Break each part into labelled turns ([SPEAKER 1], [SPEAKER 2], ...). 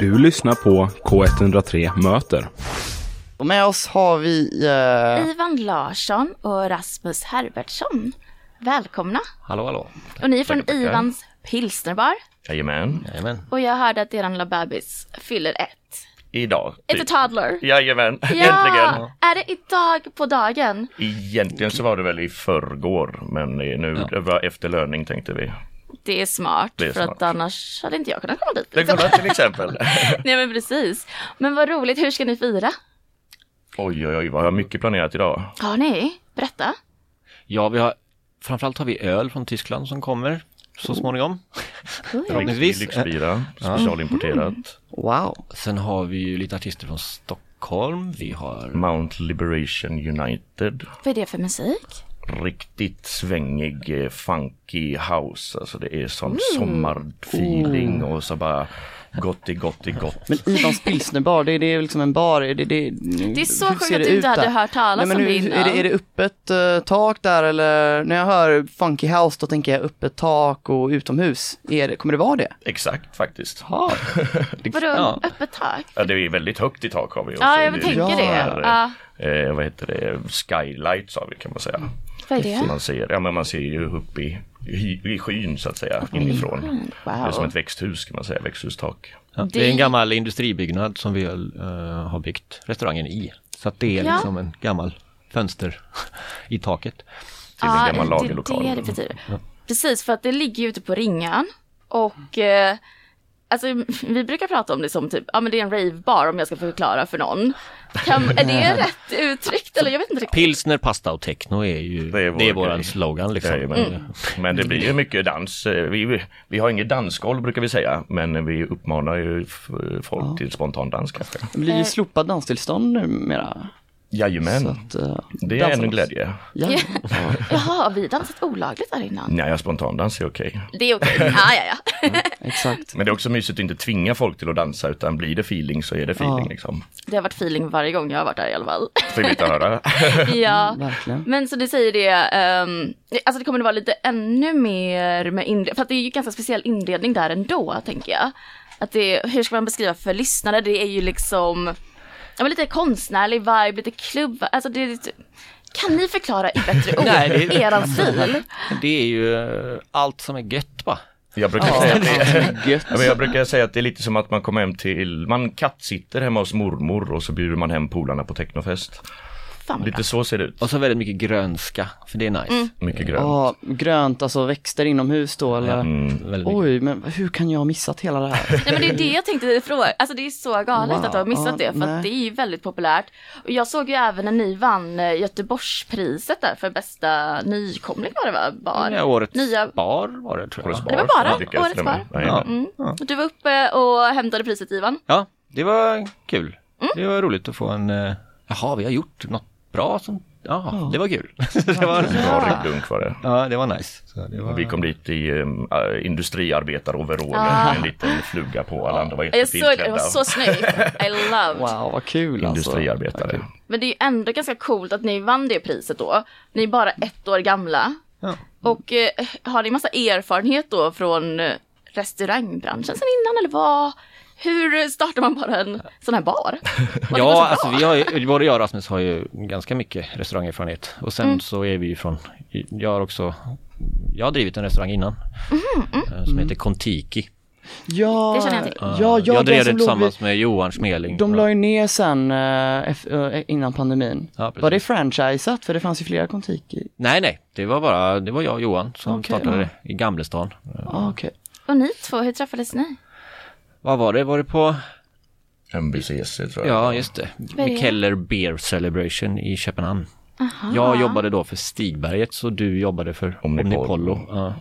[SPEAKER 1] Du lyssnar på K103 Möter.
[SPEAKER 2] Och med oss har vi... Eh...
[SPEAKER 3] Ivan Larsson och Rasmus Herbertsson. Välkomna!
[SPEAKER 4] Hallå, hallå.
[SPEAKER 3] Och ni är från
[SPEAKER 4] Tackar, tackar.
[SPEAKER 3] Ivans pilsnerbar.
[SPEAKER 4] Jajamän.
[SPEAKER 5] Jajamän.
[SPEAKER 3] Och jag hörde att er lilla bebis fyller ett.
[SPEAKER 4] Idag.
[SPEAKER 3] Ett och toddler.
[SPEAKER 4] Jajamän. Äntligen.
[SPEAKER 3] Är det idag på dagen?
[SPEAKER 4] Egentligen så var det väl i förrgår, men det är nu det var efter löning tänkte vi.
[SPEAKER 3] Det är smart,
[SPEAKER 4] Det är
[SPEAKER 3] för
[SPEAKER 4] smart.
[SPEAKER 3] att annars hade inte jag kunnat komma dit.
[SPEAKER 4] Det
[SPEAKER 3] Liksom.
[SPEAKER 4] kolla till exempel.
[SPEAKER 3] Nej men precis. Men vad roligt, hur ska ni fira?
[SPEAKER 4] oj, oj, oj, vad har jag mycket planerat idag.
[SPEAKER 3] Har ni? Berätta.
[SPEAKER 5] Ja, vi har, framförallt har vi öl från Tyskland som kommer så småningom. Förhoppningsvis. Eh,
[SPEAKER 4] Lyxbira, specialimporterat.
[SPEAKER 2] Wow.
[SPEAKER 5] Sen har vi ju lite artister från Stockholm. Vi har
[SPEAKER 4] Mount Liberation United.
[SPEAKER 3] Vad är det för musik?
[SPEAKER 4] Riktigt svängig, eh, funky house. Alltså det är
[SPEAKER 3] Mm.
[SPEAKER 4] sån sommarfeeling och så bara gott i gott i gott.
[SPEAKER 2] Men Ivans pilsnerbar, det är det liksom en bar? Är det, det,
[SPEAKER 3] Det är så
[SPEAKER 2] hur
[SPEAKER 3] sjukt
[SPEAKER 2] ser
[SPEAKER 3] att
[SPEAKER 2] det
[SPEAKER 3] du
[SPEAKER 2] ut
[SPEAKER 3] inte hade
[SPEAKER 2] där?
[SPEAKER 3] hört talas
[SPEAKER 2] Nej, men
[SPEAKER 3] om
[SPEAKER 2] hur,
[SPEAKER 3] det
[SPEAKER 2] är,
[SPEAKER 3] innan.
[SPEAKER 2] det, är det öppet eh, tak där eller när jag hör funky house då tänker jag öppet tak och utomhus. Är det, kommer det vara det?
[SPEAKER 4] Exakt faktiskt.
[SPEAKER 2] Ja.
[SPEAKER 3] Vadå,
[SPEAKER 5] Ja.
[SPEAKER 3] öppet tak?
[SPEAKER 4] Ja, det är väldigt högt i tak har vi. också.
[SPEAKER 3] Ja, jag
[SPEAKER 4] är
[SPEAKER 3] tänker
[SPEAKER 4] lite
[SPEAKER 3] det.
[SPEAKER 4] sån här,
[SPEAKER 3] Ja.
[SPEAKER 4] Eh, vad heter det? Skylights har vi kan man säga.
[SPEAKER 3] Vad är det?
[SPEAKER 4] Man ser, ja, men man ser ju upp i, i, i skyn så att säga inifrån.
[SPEAKER 3] Mm, Wow.
[SPEAKER 4] Det är som ett växthus kan man säga, växthustak.
[SPEAKER 5] ja, det är en gammal industribyggnad som vi eh, har byggt restaurangen i. Så att det är
[SPEAKER 3] Ja.
[SPEAKER 5] liksom en gammal fönster i taket.
[SPEAKER 4] till typ en gammal
[SPEAKER 3] det är
[SPEAKER 4] lagerlokal. liksom.
[SPEAKER 3] Det det betyder. Precis, för att det ligger ju ute på Ringön. Och eh, alltså, vi brukar prata om det som typ, ja men det är en ravebar om jag ska förklara för någon. Kan, är det rätt uttryckt eller jag vet inte riktigt.
[SPEAKER 5] Pilsner, pasta och techno är ju det är
[SPEAKER 4] vår
[SPEAKER 5] vår våran
[SPEAKER 4] grej.
[SPEAKER 5] slogan liksom.
[SPEAKER 4] Jajamän. Eh,
[SPEAKER 3] Mm.
[SPEAKER 4] Men det blir ju mycket dans. Eh, Vi, vi, vi har inget dansgolv brukar vi säga, men vi uppmanar ju f- folk till spontandans kanske.
[SPEAKER 2] Det blir
[SPEAKER 3] Eh.
[SPEAKER 2] ju slopat danstillstånd numera.
[SPEAKER 4] Jajamän,
[SPEAKER 2] Så att, eh,
[SPEAKER 4] Mm. det är
[SPEAKER 2] dansa
[SPEAKER 4] en
[SPEAKER 2] dans.
[SPEAKER 4] glädje.
[SPEAKER 2] Ja.
[SPEAKER 3] Jaha, har vi dansat olagligt där innan?
[SPEAKER 4] Nej, spontandans är okej.
[SPEAKER 3] Det är okej. Ja, ja, ja.
[SPEAKER 2] Exakt.
[SPEAKER 4] Men det är också mysigt att inte tvinga folk till att dansa, utan blir det feeling så är det feeling liksom.
[SPEAKER 3] Det har varit feeling varje gång jag har varit där i alla fall.
[SPEAKER 4] Trevligt att höra.
[SPEAKER 3] Ja,
[SPEAKER 2] verkligen.
[SPEAKER 3] men så du säger det, ehm, alltså det kommer att vara lite ännu mer med inredning, för att det är ju ganska speciell inredning där ändå, tänker jag. Att det, hur ska man beskriva för lyssnare, det är ju liksom, ja men lite konstnärlig vibe, lite klubb, alltså det är lite, kan ni förklara i bättre ord,
[SPEAKER 5] Nej, det-
[SPEAKER 3] eran stil?
[SPEAKER 5] Det är ju eh, allt som är gött va?
[SPEAKER 4] Jag brukar säga att det är
[SPEAKER 2] Gött.
[SPEAKER 4] Ja, men jag brukar säga att det är lite som att man kommer hem till, man kattsitter hemma hos mormor och så bjuder man hem polarna på technofest.
[SPEAKER 3] Fan vad bra.
[SPEAKER 4] Lite så ser det ut.
[SPEAKER 5] Och så väldigt mycket grönska, för det är nice.
[SPEAKER 4] Mycket grönt.
[SPEAKER 2] Ja, grönt, alltså växter inomhus då eller?
[SPEAKER 4] mm.
[SPEAKER 5] Väldigt mycket.
[SPEAKER 2] Oj, men hur kan jag ha missat hela det här?
[SPEAKER 3] Nej men det är det jag tänkte fråga, alltså det är så galet
[SPEAKER 2] Wow.
[SPEAKER 3] att du har missat
[SPEAKER 2] Ja,
[SPEAKER 3] det för
[SPEAKER 2] nej.
[SPEAKER 3] att det är ju väldigt populärt. Och jag såg ju även när ni vann eh, Göteborgspriset där för bästa nykomling var det va? Bar.
[SPEAKER 5] Ja, årets
[SPEAKER 3] Nya...
[SPEAKER 5] bar var det tror jag.
[SPEAKER 4] Årets
[SPEAKER 3] Det var bara årets bar.
[SPEAKER 4] Ja.
[SPEAKER 3] Mm. Och Du var uppe och hämtade priset Ivan.
[SPEAKER 5] Ja, det var kul.
[SPEAKER 2] Mm.
[SPEAKER 5] Det var roligt att få en... eh, Jaha, vi har gjort något bra som... Jaha, det var kul. det var,
[SPEAKER 4] Bra ryggdunk var det.
[SPEAKER 5] ja, det var nice. Så det var...
[SPEAKER 4] Vi kom dit i um, äh, industriarbetaroverall med en liten fluga på. Alla andra var
[SPEAKER 3] Ah. Jag
[SPEAKER 4] jättefint
[SPEAKER 3] såg det, det var
[SPEAKER 4] klädda.
[SPEAKER 3] så snyggt. I loved.
[SPEAKER 2] Wow, vad kul alltså.
[SPEAKER 4] Industriarbetare.
[SPEAKER 3] Men det är ju ändå ganska coolt att ni vann det priset då. Ni är bara ett år gamla.
[SPEAKER 5] Ja.
[SPEAKER 3] Och eh, har ni massa erfarenhet då från eh, restaurangbranschen sen innan eller vad? Hur startar man bara en sån här bar? Var det
[SPEAKER 5] Ja,
[SPEAKER 3] bara så
[SPEAKER 5] alltså
[SPEAKER 3] bra?
[SPEAKER 5] vi har ju, både jag och Rasmus har ju ganska mycket restaurangerfarenhet. Och
[SPEAKER 2] Mm.
[SPEAKER 5] sen så är vi ju från... Jag har också... Jag har drivit en restaurang innan.
[SPEAKER 2] Mm-hmm,
[SPEAKER 5] eh, Som heter Kontiki.
[SPEAKER 2] Ja,
[SPEAKER 3] Det känner jag till.
[SPEAKER 2] ja, ja,
[SPEAKER 5] jag
[SPEAKER 2] den
[SPEAKER 5] drev det
[SPEAKER 2] som låg
[SPEAKER 5] tillsammans
[SPEAKER 2] vid-
[SPEAKER 5] med Johan Smeling.
[SPEAKER 2] De la ju ner sen eh, eff- eh, innan pandemin.
[SPEAKER 5] Ja, precis.
[SPEAKER 2] var det franchisat? För det fanns ju flera Kontiki.
[SPEAKER 5] Nej, nej. Det var bara... Det var jag och Johan som
[SPEAKER 2] Okej,
[SPEAKER 5] startade det i Gamlestan.
[SPEAKER 2] Ah, okej.
[SPEAKER 3] Och ni två, hur träffades ni?
[SPEAKER 5] Vad var det? Var det på...
[SPEAKER 4] MBCC E, tror jag.
[SPEAKER 5] Ja, just det.
[SPEAKER 3] är det?
[SPEAKER 5] Mikeller Beer Celebration i Köpenhamn. Jag jobbade då för Stigberget så du jobbade för
[SPEAKER 4] Omnipollo.
[SPEAKER 5] Omnipollo. Ja.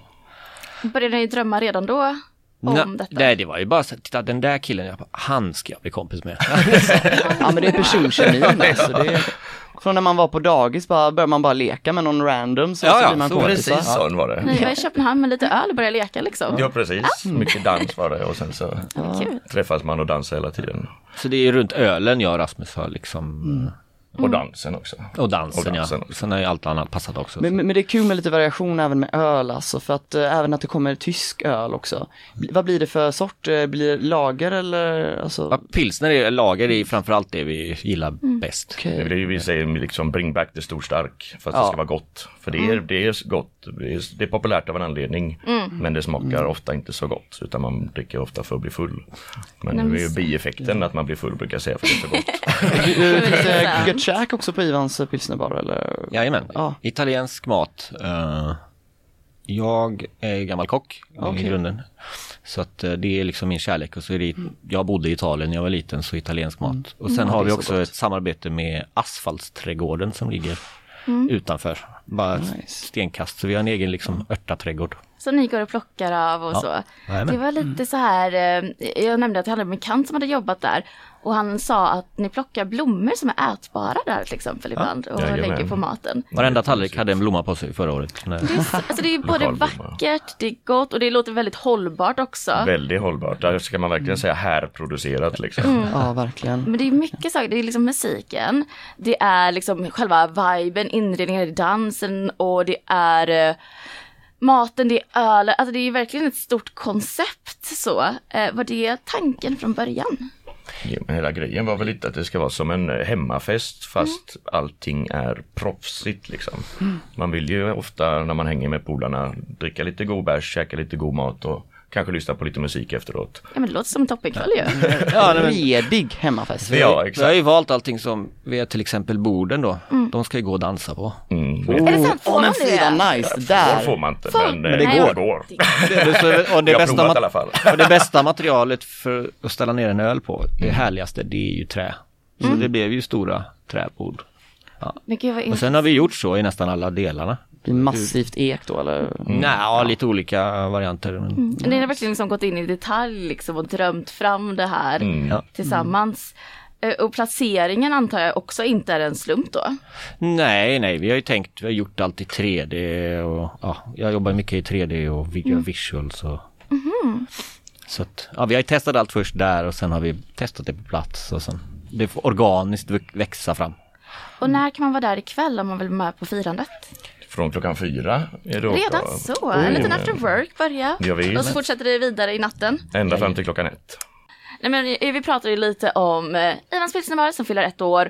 [SPEAKER 3] Började ni drömma redan då? Om
[SPEAKER 5] Nå,
[SPEAKER 3] detta?
[SPEAKER 5] Nej, det var ju bara så att, titta den där killen, jag bara, han ska jag bli kompis med.
[SPEAKER 2] Ja men det är personkemin alltså. Det är... Från när man var på dagis bara, började man bara leka med någon random så,
[SPEAKER 5] Ja,
[SPEAKER 2] så
[SPEAKER 5] ja,
[SPEAKER 2] blir man
[SPEAKER 5] så var det.
[SPEAKER 2] kompisar.
[SPEAKER 4] Precis sån var det.
[SPEAKER 3] Ni var i Köpenhamn med lite öl och började leka liksom?
[SPEAKER 4] Ja precis,
[SPEAKER 5] Mm.
[SPEAKER 4] mycket dans var det och sen så
[SPEAKER 3] Kul.
[SPEAKER 4] träffas man och dansar hela tiden.
[SPEAKER 3] Mm.
[SPEAKER 5] så det är ju runt ölen jag och Rasmus har liksom eh,
[SPEAKER 4] Och dansen också.
[SPEAKER 5] Och dansen,
[SPEAKER 4] Och dansen
[SPEAKER 5] ja.
[SPEAKER 4] också.
[SPEAKER 5] Sen har ju allt annat passat också.
[SPEAKER 2] Men, men men det är kul med lite variation även med öl alltså, för att eh, även att det kommer tysk öl också. Bl- vad blir det för sort? Eh, Blir det lager eller alltså?
[SPEAKER 5] Ja, Pilsner är lager, det är framförallt det vi gillar
[SPEAKER 3] Mm.
[SPEAKER 5] bäst.
[SPEAKER 2] Okej.
[SPEAKER 4] Eh, Det är det vi säger liksom bring back the stor stark för att
[SPEAKER 2] Ja.
[SPEAKER 4] det ska vara gott. För det är, det är gott, det är, det är populärt av en anledning. Men det smakar ofta inte så gott utan man dricker ofta för att bli full. Men nu är ju bieffekten att man blir full brukar jag säga för det är så gott.
[SPEAKER 2] Det finns det gött käk också på Ivans pilsnerbar eller?
[SPEAKER 5] Jajamän,
[SPEAKER 2] Ja.
[SPEAKER 5] italiensk mat. Eh, jag är gammal kock i
[SPEAKER 2] Okej.
[SPEAKER 5] grunden. Så att eh, det är liksom min kärlek och så är det, jag bodde i Italien när jag var liten så italiensk mat. Och sen har
[SPEAKER 2] Mm. det
[SPEAKER 5] vi
[SPEAKER 2] är så
[SPEAKER 5] också
[SPEAKER 2] gott.
[SPEAKER 5] ett samarbete med Asfaltsträdgården som ligger utanför. Bara ett
[SPEAKER 2] Mm. Nice. Mm.
[SPEAKER 5] stenkast, så vi har en egen liksom örtaträdgård.
[SPEAKER 3] Som ni går och plockar av och
[SPEAKER 5] Ja,
[SPEAKER 3] så.
[SPEAKER 5] jajamän.
[SPEAKER 3] Det var lite så här, eh, jag nämnde att jag hade en bekant som hade jobbat där. Och han sa att ni plockar blommor som är ätbara där till exempel ibland och
[SPEAKER 4] jajamän.
[SPEAKER 3] lägger på maten.
[SPEAKER 5] Varenda tallrik hade en blomma på sig förra året. när-
[SPEAKER 3] Det är, så- alltså det är ju både
[SPEAKER 4] Lokalblomma.
[SPEAKER 3] vackert, det är gott och det låter väldigt hållbart också.
[SPEAKER 4] Väldigt hållbart. Där ska man verkligen säga härproducerat liksom.
[SPEAKER 2] Ja, verkligen.
[SPEAKER 3] Men det är mycket saker, det är liksom musiken, det är liksom själva viben, inredningen, det är dansen och det är eh, maten, det är ölen, alltså det är verkligen ett stort koncept så. Eh, var det tanken från början?
[SPEAKER 4] Ja, men hela grejen var väl lite att det ska vara som en eh, hemmafest fast allting är proffsigt liksom. Man vill ju ofta när man hänger med polarna dricka lite god bärs, käka lite god mat och kanske lysta på lite musik efteråt.
[SPEAKER 3] Ja men det låter som en toppenkväll ju.
[SPEAKER 5] Ja, nej, men-
[SPEAKER 2] Redig hemmafest.
[SPEAKER 4] Ja,
[SPEAKER 5] Vi har
[SPEAKER 4] exakt.
[SPEAKER 5] ju valt allting som, vi har till exempel borden då,
[SPEAKER 2] Mm.
[SPEAKER 5] de ska ju gå och dansa på.
[SPEAKER 4] Mm.
[SPEAKER 3] Är det sant? Får
[SPEAKER 2] Åh men
[SPEAKER 3] man det?
[SPEAKER 2] fy vad nice, det
[SPEAKER 4] Det
[SPEAKER 2] där.
[SPEAKER 4] får man inte,
[SPEAKER 3] Får-
[SPEAKER 4] men, eh,
[SPEAKER 3] Men det går.
[SPEAKER 5] Det- så- och det
[SPEAKER 4] Jag har
[SPEAKER 5] bästa
[SPEAKER 4] provat
[SPEAKER 5] mat-
[SPEAKER 4] i alla fall.
[SPEAKER 5] Och det bästa materialet för att ställa ner en öl på, det härligaste, det är ju trä. Så det blev ju stora träbord.
[SPEAKER 3] Men gud vad
[SPEAKER 5] Och
[SPEAKER 3] intressant.
[SPEAKER 5] sen har vi gjort så i nästan alla delarna.
[SPEAKER 2] Blir massivt ek då eller?
[SPEAKER 4] Mm.
[SPEAKER 5] Nja, ja, lite olika varianter. Men...
[SPEAKER 3] Ni har verkligen liksom gått in i detalj liksom och drömt fram det här
[SPEAKER 5] Ja.
[SPEAKER 3] tillsammans. Eh, Och placeringen antar jag också inte är en slump då.
[SPEAKER 5] Nej, nej, vi har ju tänkt, vi har gjort allt i 3D och ja, jag jobbar mycket i 3D och vi gör visuals och... Så att, ja, vi har ju testat allt först där och sen har vi testat det på plats och sen det får organiskt vux- växa fram.
[SPEAKER 3] Och när kan man vara där ikväll om man vill vara med på firandet?
[SPEAKER 4] Från klockan fyra är det åka.
[SPEAKER 3] Redan så, en liten after work börja.
[SPEAKER 4] Ja, visst.
[SPEAKER 3] och så fortsätter det vidare i natten.
[SPEAKER 4] Ända fram till klockan ett.
[SPEAKER 3] Nej, men eh, vi pratade ju lite om eh, Ivans pilsnerbar som fyller ett år.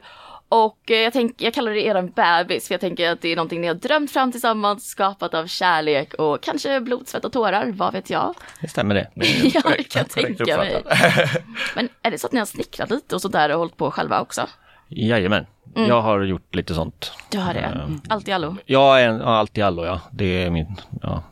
[SPEAKER 3] Och eh, jag, tänk, jag kallar det eran bebis för jag tänker att det är någonting ni har drömt fram tillsammans, skapat av kärlek och kanske blod, svett och tårar, vad vet jag.
[SPEAKER 5] Det stämmer det.
[SPEAKER 3] Ja, det kan jag
[SPEAKER 4] korrekt
[SPEAKER 3] tänka mig. Men är det så att ni har snickrat lite och sådär och hållit på själva också?
[SPEAKER 5] Jajamän,
[SPEAKER 3] Mm.
[SPEAKER 5] jag har gjort lite sånt.
[SPEAKER 3] Du har Mm. det, allt i allo.
[SPEAKER 5] Jag är en, ja, allt i allo ja, det är min, ja.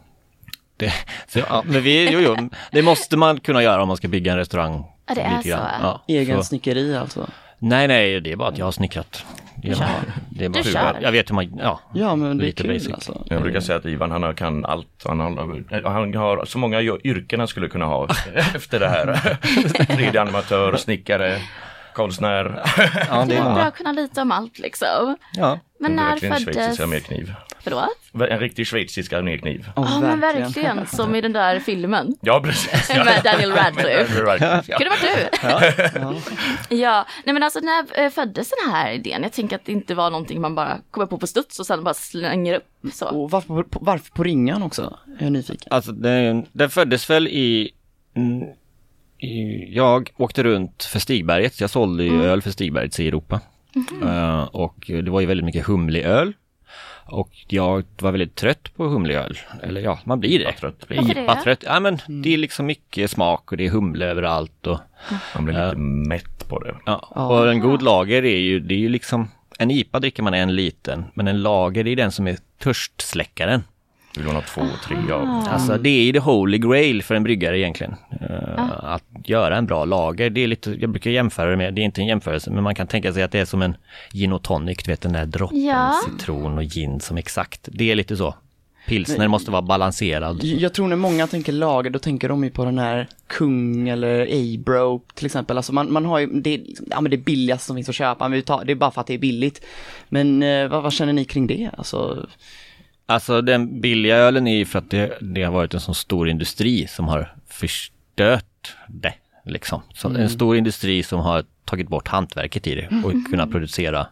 [SPEAKER 5] Det, så, ja men vi, jo, jo, det måste man kunna göra om man ska bygga en restaurang.
[SPEAKER 3] Ja, det är
[SPEAKER 5] lite grann.
[SPEAKER 3] så.
[SPEAKER 5] Ja,
[SPEAKER 2] Egen
[SPEAKER 5] så-
[SPEAKER 2] snickeri alltså.
[SPEAKER 5] Nej, nej, det är bara att jag har snickrat. Det är bara, det är bara
[SPEAKER 3] Du kör.
[SPEAKER 5] Jag vet hur man, ja.
[SPEAKER 2] Ja men det är
[SPEAKER 5] Lite
[SPEAKER 2] kul
[SPEAKER 5] basic.
[SPEAKER 2] alltså.
[SPEAKER 4] Jag
[SPEAKER 3] Mm.
[SPEAKER 4] brukar säga att Ivan han har- kan allt. Han har, han har så många jo- yrken han skulle kunna ha efter det här. 3D-animatör, snickare, konstnär.
[SPEAKER 5] ja
[SPEAKER 3] Det
[SPEAKER 5] det
[SPEAKER 3] är
[SPEAKER 5] är
[SPEAKER 3] bra
[SPEAKER 5] många.
[SPEAKER 3] att kunna lite om allt liksom.
[SPEAKER 5] Ja.
[SPEAKER 3] Men
[SPEAKER 4] Det är
[SPEAKER 3] när
[SPEAKER 4] verkligen en
[SPEAKER 3] föddes...
[SPEAKER 4] schweizisk armékniv.
[SPEAKER 3] Förlåt?
[SPEAKER 4] En riktig schweizisk armékniv.
[SPEAKER 2] Åh,
[SPEAKER 3] Ja men verkligen, som i den där filmen.
[SPEAKER 4] Ja precis.
[SPEAKER 3] Med Daniel Radcliffe.
[SPEAKER 4] Daniel Radcliffe, ja.
[SPEAKER 3] Kunde varit du. Ja. nej men alltså när eh, föddes den här idén? Jag tänker att det inte var någonting man bara kommer på på studs och sen bara slänger upp så.
[SPEAKER 2] Och varför, på- varför på ringan också? Jag är nyfiken.
[SPEAKER 5] Alltså den, den föddes väl i, mm, i... Jag åkte runt för Stigberget. Jag sålde
[SPEAKER 3] Mm.
[SPEAKER 5] ju öl för Stigberget i Europa.
[SPEAKER 3] Mhm.
[SPEAKER 5] Eh, och det var ju väldigt mycket humlig öl. Och jag var väldigt trött på humlig öl. Eller ja, man blir det.
[SPEAKER 4] trött.
[SPEAKER 3] Varför det?
[SPEAKER 5] Ipa trött. Ja, men det är liksom mycket smak och det är humle överallt och
[SPEAKER 3] Mm.
[SPEAKER 4] Han blev lite mätt på det.
[SPEAKER 5] Ja, och en god lager är ju, det är ju liksom, en IPA dricker man en liten, men en lager det är den som är törstsläckaren.
[SPEAKER 4] Vill hon ha två, tre av.
[SPEAKER 5] Alltså det är ju the holy grail för en bryggare egentligen. Eh, Att göra en bra lager, det är lite, jag brukar jämföra det med, det är inte en jämförelse, men man kan tänka sig att det är som en gin och tonic, du vet den där droppen
[SPEAKER 3] Ja.
[SPEAKER 5] citron och gin som exakt, det är lite så. Pilsner måste vara balanserad.
[SPEAKER 2] J- Jag tror när många tänker lager, då tänker de ju på den här Kung eller A-Bro till exempel. Alltså man, man har ju, det, är liksom- ja, men det billigaste som finns att köpa, men vi tar, det är bara för att det är billigt. Men eh, vad, vad känner ni kring det? Alltså,
[SPEAKER 5] Alltså den billiga ölen är ju för att det, det har varit en sån stor industri som har förstört det. Liksom. Så En stor industri som har tagit bort hantverket i det och kunnat producera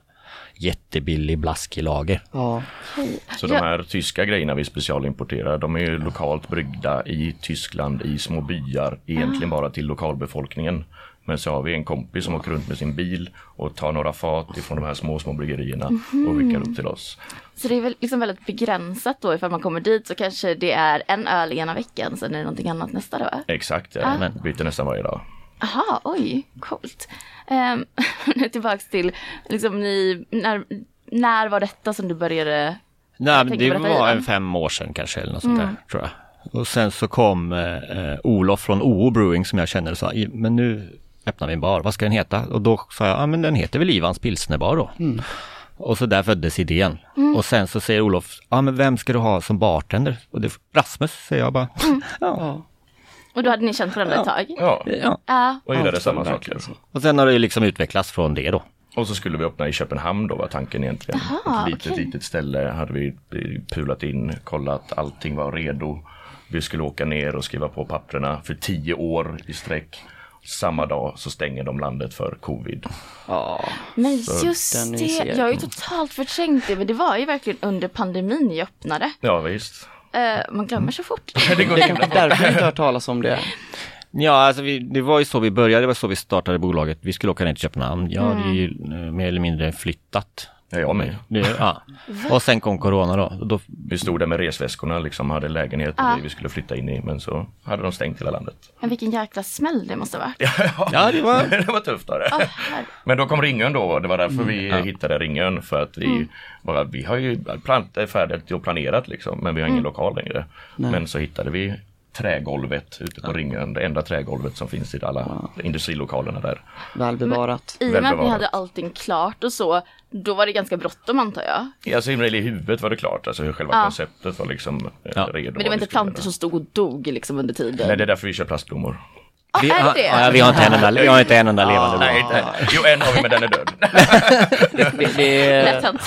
[SPEAKER 5] jättebillig blaskig lager.
[SPEAKER 2] Ja.
[SPEAKER 3] Ja.
[SPEAKER 4] Så de här tyska grejerna vi specialimporterar, de är ju lokalt bryggda i Tyskland i små byar, egentligen bara till lokalbefolkningen. Men så har vi en kompis som åker runt med sin bil och tar några fat ifrån de här små, små bryggerierna och skickar upp till oss.
[SPEAKER 3] Så det är väl liksom väldigt begränsat då ifall man kommer dit så kanske det är en öl ena veckan sen är det någonting annat nästa då.
[SPEAKER 4] Exakt, ja.
[SPEAKER 5] Ah.
[SPEAKER 4] byter nästan varje dag.
[SPEAKER 3] Aha, oj, coolt. Ehm, nu tillbaks till liksom ni, när, när var detta som du började?
[SPEAKER 5] Nej, men
[SPEAKER 3] tänker
[SPEAKER 5] det
[SPEAKER 3] på detta Mm.
[SPEAKER 5] var
[SPEAKER 3] innan.
[SPEAKER 5] en fem år sedan kanske eller något sånt där tror jag. Och sen så kom eh, eh, Olof från OO Brewing som jag känner och sa, "I- men nu öppnar vi en bar, vad ska den heta? Och då sa jag, ja men den heter väl Ivans pilsnerbar då.
[SPEAKER 3] Mm.
[SPEAKER 5] Och så där föddes idén. Och sen så säger Olof, ja men vem ska du ha som bartender? Och det, Rasmus säger jag bara.
[SPEAKER 3] Mm.
[SPEAKER 5] ja.
[SPEAKER 3] Och då hade ni känt varandra ett tag?
[SPEAKER 4] Ja,
[SPEAKER 5] ja.
[SPEAKER 3] Ja.
[SPEAKER 4] och gillade samma saker.
[SPEAKER 5] Och sen har det liksom utvecklats från det då.
[SPEAKER 4] Och så skulle vi öppna i Köpenhamn då var tanken egentligen.
[SPEAKER 3] Aha,
[SPEAKER 4] Ett litet,
[SPEAKER 3] okej.
[SPEAKER 4] litet ställe hade vi eh, pulat in, kollat, allting var redo. Vi skulle åka ner och skriva på papperna för tio år i sträck. Samma dag så stänger de landet för covid.
[SPEAKER 3] Men just
[SPEAKER 2] den
[SPEAKER 3] det,
[SPEAKER 2] initieringen.
[SPEAKER 3] jag har ju totalt förträngt det men det var ju verkligen under pandemin ni öppnade.
[SPEAKER 4] Ja visst.
[SPEAKER 3] Eh, man glömmer så fort.
[SPEAKER 2] Det är kanske därför jag inte har hört talas om det.
[SPEAKER 5] Ja, alltså vi, det var ju så vi började, det var så vi startade bolaget. Vi skulle åka ner till Köpenhamn. Ja, det är ju
[SPEAKER 3] Mm.
[SPEAKER 5] eh, mer eller mindre flyttat.
[SPEAKER 4] Ja, jag med.
[SPEAKER 5] Det, ja. Och sen kom corona då. Och då
[SPEAKER 4] Vi stod där med resväskorna liksom, hade lägenhet vi skulle flytta in i men så hade de stängt hela landet.
[SPEAKER 3] Men vilken jäkla smäll det måste ha varit.
[SPEAKER 5] ja, det var...
[SPEAKER 4] det var tufft var det.
[SPEAKER 3] Åh, herre.
[SPEAKER 4] Men då kom Ringön då, det var därför vi hittade Ringön för att vi
[SPEAKER 3] Mm.
[SPEAKER 4] bara, vi har ju plant, är färdigt och planerat liksom men vi
[SPEAKER 3] Mm.
[SPEAKER 4] har ingen lokal längre. Men så hittade vi trägolvet ute på Ringön, det enda trägolvet som finns i alla industrilokalerna där.
[SPEAKER 2] Välbevarat.
[SPEAKER 3] I och med att ni
[SPEAKER 4] Välbevarat.
[SPEAKER 3] hade allting klart och så, då var det ganska bråttom antar jag.
[SPEAKER 4] Alltså i i huvudet var det klart, alltså hur själva konceptet var liksom eh,
[SPEAKER 5] Ja.
[SPEAKER 4] redo.
[SPEAKER 3] Men det var inte plantor som stod och dog liksom under tiden.
[SPEAKER 4] Nej det är därför vi kör plastblommor.
[SPEAKER 3] Ah,
[SPEAKER 5] Vi,
[SPEAKER 3] är det
[SPEAKER 5] ja,
[SPEAKER 3] det?
[SPEAKER 5] ja, vi har inte en enda, vi har Ah. inte en enda levande.
[SPEAKER 4] Nej, nej. Jo en har vi men den är död.
[SPEAKER 2] Det, det,
[SPEAKER 3] Lätt hänt.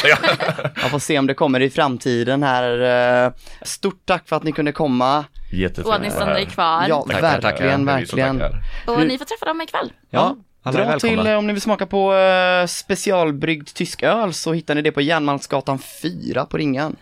[SPEAKER 2] jag får se om det kommer i framtiden här. Eh, Stort tack för att ni kunde komma.
[SPEAKER 4] Jättetrevligt
[SPEAKER 3] Och att ni
[SPEAKER 4] att vara
[SPEAKER 3] stannade
[SPEAKER 4] här.
[SPEAKER 3] kvar.
[SPEAKER 2] Ja,
[SPEAKER 4] Tackar,
[SPEAKER 2] verkligen,
[SPEAKER 4] tackar. Vi är så
[SPEAKER 2] verkligen.
[SPEAKER 4] tackar.
[SPEAKER 3] Och ni får träffa dem ikväll.
[SPEAKER 5] Ja, alla är
[SPEAKER 2] Dra till,
[SPEAKER 5] välkomna.
[SPEAKER 2] eh, om ni vill smaka på eh, specialbryggd tysk öl så hittar ni det på Järnmalmsgatan 4 på Ringan.